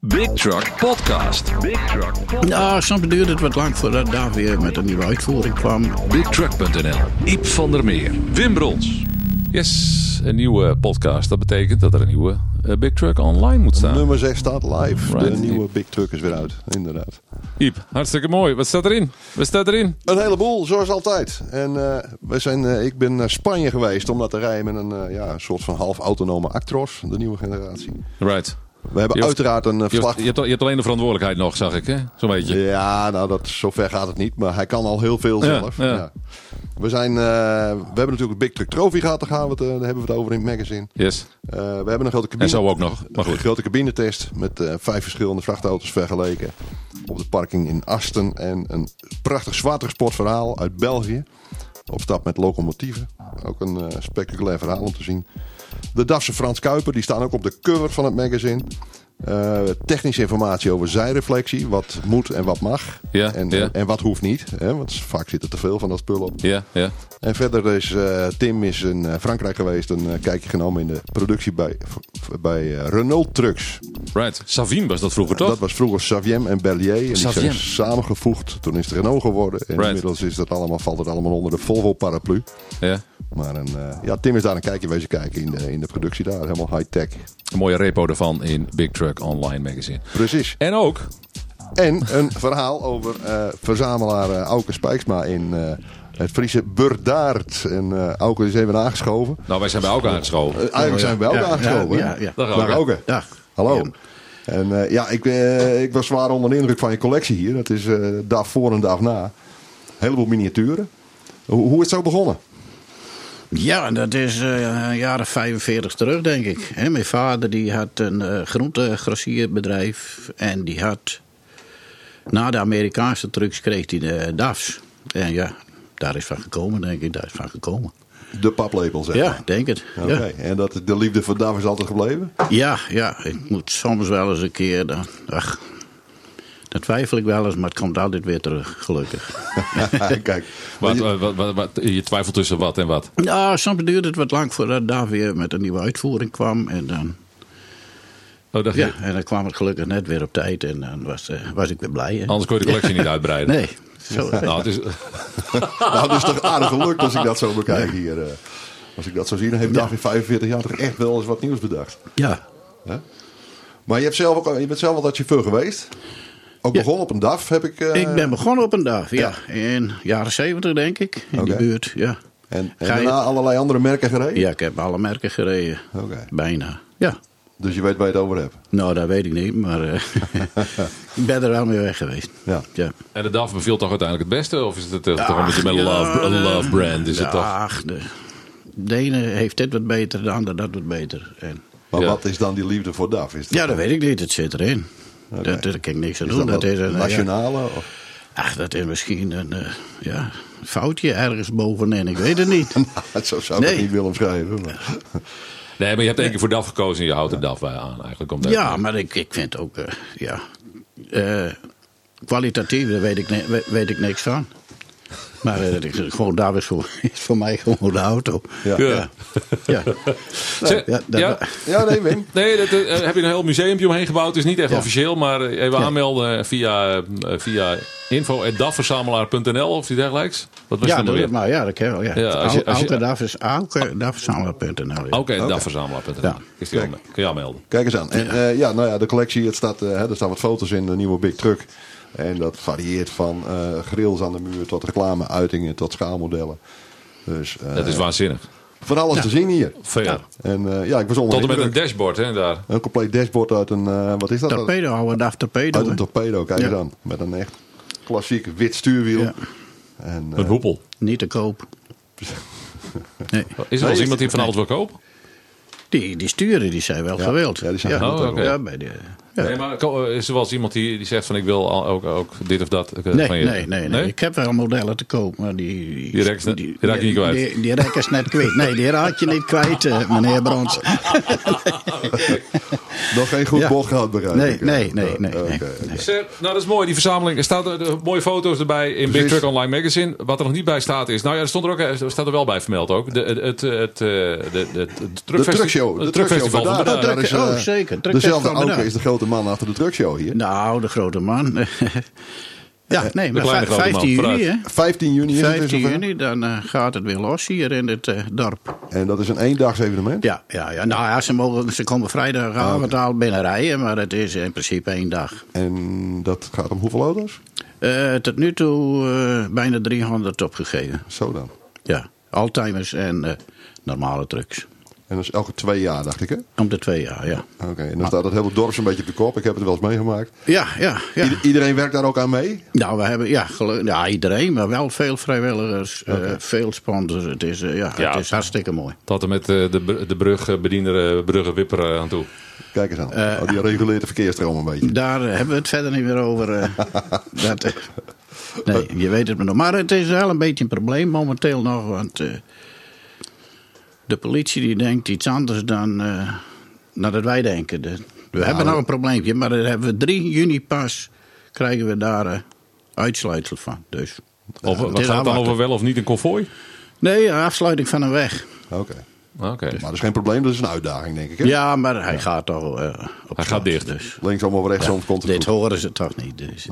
Big Truck Podcast. Big Truck Podcast. Ja, soms duurde het wat lang voordat daar weer met een nieuwe uitvoering kwam. BigTruck.nl. Iep van der Meer. Wim Brons. Yes, een nieuwe podcast. Dat betekent dat er een nieuwe eh, Big Truck online moet staan. Nummer 6 staat live. Ah. Right. De nieuwe Big Truck is weer uit, inderdaad. Iep, hartstikke mooi. Wat staat erin? Wat staat erin? Een heleboel, zoals altijd. En eh, we zijn, eh, ik ben naar Spanje geweest om dat te rijden met een eh, ja, een soort van half-autonome Actros, de nieuwe generatie. Right. We hebben Je hoeft- uiteraard een eh, Je vlag. hebt, je, hebt, al- je hebt alleen de verantwoordelijkheid nog, zag ik, hè? Zo'n beetje. Ja, nou, dat, zover gaat het niet, maar hij kan al heel veel Ja, zelf. ja. Ja. We, zijn, eh, we hebben natuurlijk de Big Truck Trophy gehad, daar, gaan we het, eh, daar hebben we het over in het magazine. Yes. Eh, we hebben een grote En cabine. zo ook nog. Maar Een goed. grote cabinetest met eh, vijf verschillende vrachtauto's vergeleken. Op de parking in Asten. En een prachtig zwatersportverhaal uit België. Op stap met locomotieven. Ook een eh, spectaculair verhaal om te zien. De DAFse Frans Kuiper, die staan ook op de cover van het magazine. Eh, technische informatie over zijreflectie. Wat moet en wat mag. Ja, en, eh, ja. en wat hoeft niet. Hè, want vaak zit er te veel van dat spul op. Ja, ja. En verder is eh, Tim is in eh, Frankrijk geweest en eh, kijkje genomen in de productie bij, v- bij eh, Renault Trucks. Right. Savine was dat vroeger, toch? Dat was vroeger Saviem en Bellier. En die Saviem. zijn samengevoegd. Toen is het Renault geworden. En Right. inmiddels is dat allemaal, valt het allemaal onder de Volvo paraplu. Ja. Maar een, eh, ja, Tim is daar een kijkje wezen kijken in de, in de productie daar. Helemaal high-tech. Een mooie repo ervan in Big Truck Online Magazine. Precies. En ook, En een verhaal over eh, verzamelaar eh, Auke Spijksma in eh, het Friese Burdaard. En eh Auke is even aangeschoven. nou wij zijn bij elkaar aangeschoven. Eh, eigenlijk zijn we wel Oh, Ja, aangeschoven. ja, hè? ja, ja. Dag, Dag Auke. Auke. Dag. Hallo. Ja. En eh, ja, ik, eh, ik was zwaar onder de indruk van je collectie hier. Dat is eh dag voor en dag na. heleboel miniaturen. Hoe, hoe is het zo begonnen? Ja, dat is eh, een jaren 45 terug, denk ik. Hè, mijn vader die had een eh groentegrossierbedrijf. En die had. Na de Amerikaanse trucks kreeg hij de DAFs. En ja, daar is van gekomen, denk ik. Daar is van gekomen. De paplepel, zeg Ja, maar. denk het. Oké, Ja. en dat, de liefde voor DAF is altijd gebleven? Ja, ja, ik moet soms wel eens een keer. Dan, ach, dan twijfel ik wel eens, maar het komt altijd weer terug, gelukkig. Ah, Kijk, Wat, eh, wat, wat, wat- je twijfelt tussen wat en wat. Ja, soms duurde het wat lang voordat daar weer met een nieuwe uitvoering kwam. En dan, Oh, dacht ja, je? en dan kwam het gelukkig net weer op tijd en dan was, eh, was ik weer blij. hè. Anders kon je de collectie niet uitbreiden. Nee. Zo, Nou, het is, nou, dat is toch aardig gelukt als ik dat zo bekijk hier. eh. als ik dat zo zie, dan heeft DAF in 45 jaar toch echt wel eens wat nieuws bedacht. ja. Hè? Maar je, hebt zelf ook, je bent zelf altijd chauffeur geweest. Ook Ja. begonnen op een DAF, heb ik... eh, Ik ben begonnen op een dag, ja. In jaren zeventig, denk ik. In die Oké. buurt, ja. En, en Ga je- daarna allerlei andere merken gereden? Ja, ik heb alle merken gereden. Oké. Bijna. Ja. Dus je weet waar je het over hebt. Nou, dat weet ik niet, maar eh, ik ben er wel mee weg geweest. Ja. ja. en de DAF beviel toch uiteindelijk het beste? Of is het eh, toch een Ach, beetje met een Ah, ja, love, een eh, love brand? Is het toch? Ach, de, de ene heeft dit wat beter, de ander dat wat beter. En, Maar Ja. wat is dan die liefde voor DAF? Is ja, dat weet ik niet, het zit erin. Oké. Dat, daar kan ik niks aan is doen. Dat wel is een, eh, ja, nationale? of- ach, dat is misschien een eh, ja, foutje ergens bovenin, ik weet het niet. Nou, zo zou ik Nee. het niet willen omschrijven. Maar... Nee, maar je hebt één keer voor DAF gekozen en je houdt de DAF bij aan eigenlijk. Omdat ja, maar ik, ik vind ook, eh, ja, eh, kwalitatief, daar weet ik, ni- we- weet ik niks van. Maar eh, dat is gewoon, daar is voor, is voor mij gewoon de auto. Ja. ja. ja. Zeg, Ja, dat- ja? Ja, nee, Wim. Nee, daar heb je een heel museumpje omheen gebouwd. Het is niet echt Ja. officieel, maar eh, even Ja. aanmelden eh, via, eh, via info.dafverzamelaar.nl of iets dergelijks. Wat was Ja, het doe nou het weer? maar. Ja, dat kan wel. Ja. Ja, als je- als je- Aukerdafverzamelaar.nl. Ja. Oké, dafverzamelaar.nl. Ja. Is die aanme- Kun je aanmelden. Kijk eens aan. En eh, ja, nou ja, de collectie, het staat, eh, hè, er staan wat foto's in de nieuwe Big Truck. En dat varieert van eh, grills aan de muur tot reclameuitingen tot schaalmodellen. Dus eh, Dat is waanzinnig. van alles te zien hier. Veel. En eh, ja, ik was onder Tot de en met een indruk. dashboard, hè, daar. een compleet dashboard uit een, eh, wat is dat? Torpedo, oude DAF torpedo. Uit een hè? torpedo, kijk eens Ja. aan. Met een echt klassiek wit stuurwiel. Ja. En, eh, Een hoepel. Niet te koop. Nee. Is er wel eens iemand die van alles wil kopen? Die, die sturen die zijn wel Ja, gewild. ja, die zijn goed, ja, Oh, oké. ja, bij de, ja. Nee, maar ko- eh, is er wel eens iemand die, die zegt van ik wil al- ook, ook dit of dat eh, Nee, van nee, je? nee, nee, Ik heb wel modellen te koop, maar die... Die raak je- die raak je niet kwijt. Die, die raak is net kwijt. Nee, die raak je niet kwijt, eh, meneer Brons. Nog geen goed Ja. bocht gehad bereikt. Nee, nee, nee, nee, nee. Eh, Oké, oké. Zeg, nou, dat is mooi, die verzameling. Er staan eh, de mooie foto's erbij in Big Precies. Truck Online Magazine. Wat er nog niet bij staat is... Nou ja, er, stond er, ook, er staat er wel bij vermeld ook. De, het, het, het, eh, de, de, het, het De truckfesti- truckshow. het truckfestival van Breda. Breda. Daar is, eh, oh, zeker. Truckshow Dezelfde van Breda. Auke is de grote man achter de truckshow hier. Nou, de grote man. ja, nee, maar kleine vij- grote man, 15 juni, vooruit. hè? 15 juni is het, is het 15 zover. juni, dan eh, gaat het weer los hier in het eh, dorp. En dat is een eendaags evenement. Ja, ja, ja. Nou ja, ze, mogen, ze komen Ah, vrijdagavond al binnen rijden, maar het is in principe één dag. En dat gaat om hoeveel auto's? Eh, tot nu toe eh, bijna 300 opgegeven. Zo dan. Ja, Alzheimer's en eh, normale trucks. En dat is elke twee jaar, dacht ik hè? Om de twee jaar, ja. Oké, en dan staat het hele dorp zo'n beetje op de kop. Ik heb het wel eens meegemaakt. Ja, ja, ja. Ieder- iedereen werkt daar ook aan mee? Nou, we hebben, ja, gelu- ja, iedereen, maar wel veel vrijwilligers, eh, veel sponsors. Het is, eh, ja, Ja. het is hartstikke mooi. Tot en met eh, de, br- de brugbediener, eh, bruggenwipper eh, aan toe. Kijk eens aan. Eh, Oh, die reguleert de verkeersstroom een beetje. Daar eh, hebben we het verder niet meer over. eh, dat, eh, nee, je weet het maar nog. Maar het is wel een beetje een probleem momenteel nog. Want eh, de politie die denkt iets anders dan eh, dan dat wij denken. De- we hebben nog een probleempje, maar dat hebben we 3 juni pas. Krijgen we daar eh, uitsluitsel van. Dus. Of, wat het is gaat het dan afwachten. over wel of niet een konvooi? Nee, een afsluiting van een weg. Oké. Oké. Maar dat is geen probleem, dat is een uitdaging, denk ik. Hè? Ja, maar hij gaat toch eh, op Hij slot, gaat dicht. Dus. Linksom of rechtsom komt het Dit goed. horen ze toch niet. Dus.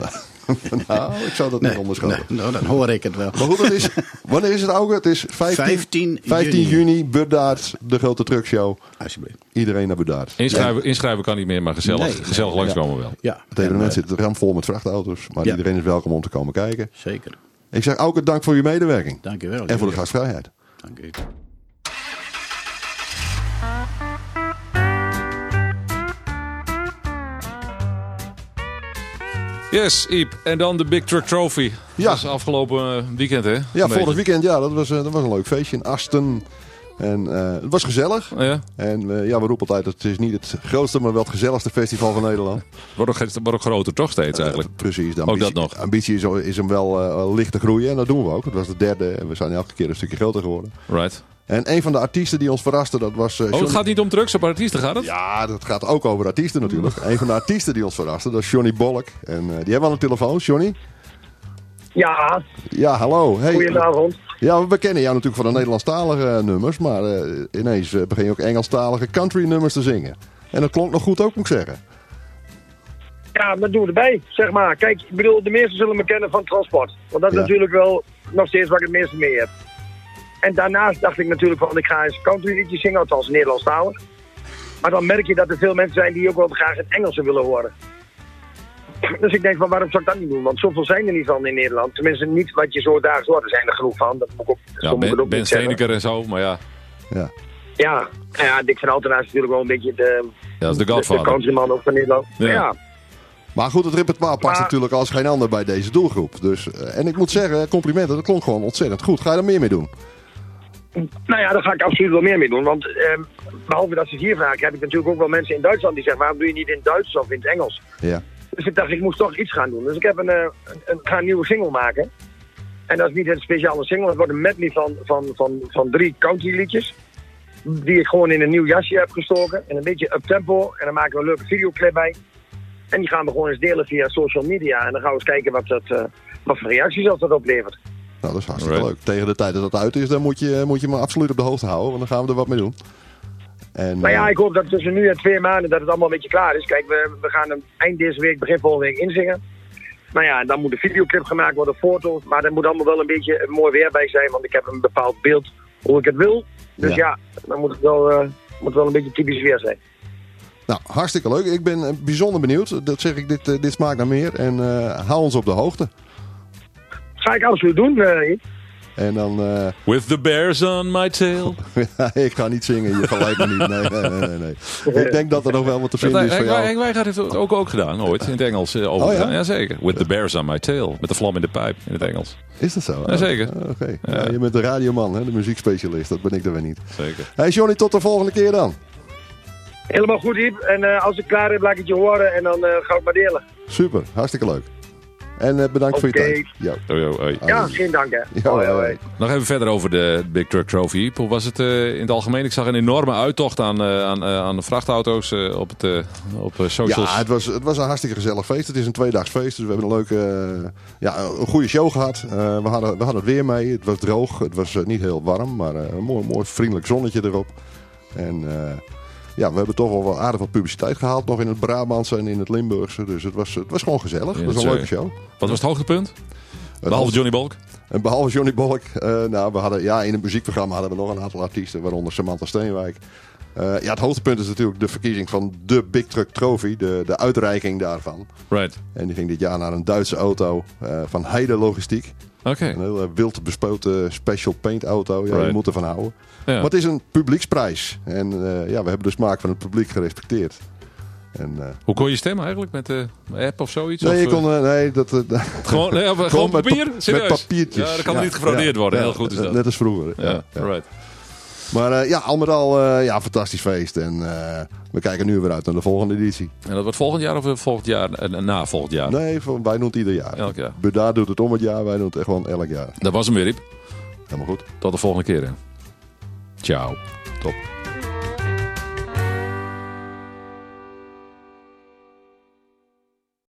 nou, ik zou dat niet Nee, onderschatten. nee, nou, dan hoor ik het wel. Maar goed, het is, wanneer is het ook? Het is 15, 15 15 juni, juni. Buddaard, de grote truckshow. Alsjeblieft. Iedereen naar Buddaard. Inschrijven, inschrijven kan niet meer, maar gezellig, Nee, nee, gezellig langskomen wel. Ja, eh, Het evenement zit ramvol met vrachtauto's, maar Ja. iedereen is welkom om te komen kijken. zeker. Ik zeg ook dank voor je medewerking Dank je wel. en voor de gastvrijheid. Dank u. Yes, Iep. En dan de Big Truck Trophy. Ja. Dat is afgelopen eh, weekend, hè? Ja, volgend weekend, ja, dat was, eh, dat was een leuk feestje in Asten. En eh, het was gezellig. Ja. En eh, ja, we roepen altijd, het is niet het grootste, maar wel het gezelligste festival van Nederland. Wordt ook, wordt ook groter toch steeds eigenlijk. Precies. De Ook ambitie, dat nog. ambitie is, is hem wel eh, licht te groeien en dat doen we ook. Het was de derde en we zijn elke keer een stukje groter geworden. Right. En een van de artiesten die ons verraste, dat was... eh, Oh, het Johnny- gaat niet om drugs op artiesten, gaat het? Ja, dat gaat ook over artiesten natuurlijk. Mm. Een van de artiesten die ons verraste, dat is Johnny Bolk. En eh, die hebben we aan de telefoon, Johnny. Ja, Ja, hallo. Hey. goedenavond. Ja, we kennen jou natuurlijk van de Nederlandstalige eh, nummers, maar eh, ineens eh, begin je ook Engelstalige country nummers te zingen. En dat klonk nog goed ook, moet ik zeggen. Ja, maar doe erbij, zeg maar. Kijk, ik bedoel, de meesten zullen me kennen van transport. Want dat is Ja. natuurlijk wel nog steeds waar ik het meeste mee heb. En daarnaast dacht ik natuurlijk van, ik ga eens countryliedjes zingen, althans Nederlandstalig. Maar dan merk je dat er veel mensen zijn die ook wel graag het Engelse willen horen. Dus ik denk van, waarom zou ik dat niet doen? Want zoveel zijn er niet van in Nederland. Tenminste, niet wat je zo daags hoort. Er zijn er genoeg van. Dat moet ik ook, zo Ja, moet ik het Ben, ook ben niet zeggen. Steneker en zo, maar ja. Ja. Ja, nou ja, Dick van Altena is natuurlijk wel een beetje de, Ja, dat is de de, de Godfather. countryman ook van Nederland. Ja. ja. Maar goed, het repertoire past Maar- natuurlijk als geen ander bij deze doelgroep. Dus, eh, en ik moet zeggen, complimenten, dat klonk gewoon ontzettend goed. Ga je er meer mee doen? Nou ja, daar ga ik absoluut wel meer mee doen. Want ehm, behalve dat ze het hier vragen, heb ik natuurlijk ook wel mensen in Duitsland die zeggen: waarom doe je niet in het Duits of in het Engels? Ja. Dus ik dacht, ik moest toch iets gaan doen. Dus ik heb een, eh, een, een- ga een nieuwe single maken. En dat is niet een speciale single, het wordt een medley van, van, van, van drie countryliedjes. Die ik gewoon in een nieuw jasje heb gestoken. En een beetje up-tempo. En dan maken we een leuke videoclip bij. En die gaan we gewoon eens delen via social media. En dan gaan we eens kijken wat, dat, eh, wat voor reacties dat, dat oplevert. Nou, dat is hartstikke Alright. leuk. Tegen de tijd dat dat uit is, dan moet je, eh, moet je me absoluut op de hoogte houden. Want dan gaan we er wat mee doen. En, Nou ja, eh, ik hoop dat tussen nu en twee maanden dat het allemaal een beetje klaar is. Kijk, we, we gaan hem eind deze week, begin volgende week inzingen. Nou ja, en dan moet een videoclip gemaakt worden, foto's. Maar er moet allemaal wel een beetje een mooi weer bij zijn. Want ik heb een bepaald beeld hoe ik het wil. Dus Ja. ja, dan moet het wel, eh, moet wel een beetje typisch weer zijn. Nou, hartstikke leuk. Ik ben eh, bijzonder benieuwd. Dat zeg ik, dit, eh, dit smaakt naar meer. En eh, hou ons op de hoogte. Ga ik absoluut doen. eh, Iep. En dan... eh, With the bears on my tail. ik ga niet zingen, je gelijk me niet. Nee, nee, nee, nee, nee. Ik denk dat er nog wel wat te Dat, vinden is voor Henk Wij- jou. Henk Wijngaard heeft het ook, ook gedaan ooit, in het Engels. eh, Oh overgedaan. ja? Jazeker. With the bears on my tail. Met de vlam in de pijp, in het Engels. Is dat zo? Jazeker. Oh, Oké. Ja, je bent de radioman, hè? de muziekspecialist. Dat ben ik er weer niet. Zeker. Hey Johnny, tot de volgende keer dan. Helemaal goed, Iep. En eh, als ik klaar heb, laat ik het je horen. En dan eh, ga ik maar delen. Super, hartstikke leuk. En eh, bedankt voor Oké. je tijd. Ja. Hoi, hoi, hoi. Ja, geen dank hè. Ja, Hoi, ja, hoi. ja. Nog even verder over de Big Truck Trophy. Hoe was het eh, in het algemeen? Ik zag een enorme uittocht aan, eh, aan, eh, aan de vrachtauto's eh, op, het, eh, op eh, socials. Ja, het was, het was een hartstikke gezellig feest. Het is een tweedaags feest, dus we hebben een leuke, eh, ja, een goede show gehad. Eh, we, hadden, we hadden het weer mee. Het was droog. Het was eh, niet heel warm, maar eh, een mooi, mooi vriendelijk zonnetje erop. En eh, ja, we hebben toch wel wat aardig wat publiciteit gehaald. Nog in het Brabantse en in het Limburgse. Dus het was, het was gewoon gezellig. Het was een zeker. leuke show. Wat was het hoogtepunt? Behalve Johnny Balk. En behalve Johnny Bolk, eh, nou, we hadden, ja, in het muziekprogramma hadden we nog een aantal artiesten, waaronder Samantha Steenwijk. Eh, ja, het hoogtepunt is natuurlijk de verkiezing van de Big Truck Trophy, de, de uitreiking daarvan. Right. En die ging dit jaar naar een Duitse auto eh, van Heide Logistiek. Oké. Een hele wild bespoten special paint auto. Ja, Right. je moet ervan houden. Ja. Maar het is een publieksprijs. En eh, ja, we hebben de smaak van het publiek gerespecteerd. En, eh, Hoe kon je stemmen eigenlijk? Met de app of zoiets? nee, Of, je eh, kon, eh, nee, dat, eh, Gewoon, nee, of, gewoon met papier? pa- Serieus? Met papiertjes. Ja, dat kan Ja, niet gefraudeerd ja, worden. ja, Heel goed is dat. Net als vroeger. eh, ja, Ja, ja. right. Maar eh, ja, al met al, eh, ja, fantastisch feest. En eh, we kijken nu weer uit naar de volgende editie. En dat wordt volgend jaar of eh, volgend jaar? eh, Na volgend jaar. Nee, van, wij doen het ieder jaar. Elk jaar. Bedaar doet het om het jaar, wij doen het echt gewoon elk jaar. Dat was hem weer, Iep. Helemaal goed. Tot de volgende keer. hè. Ciao. Top.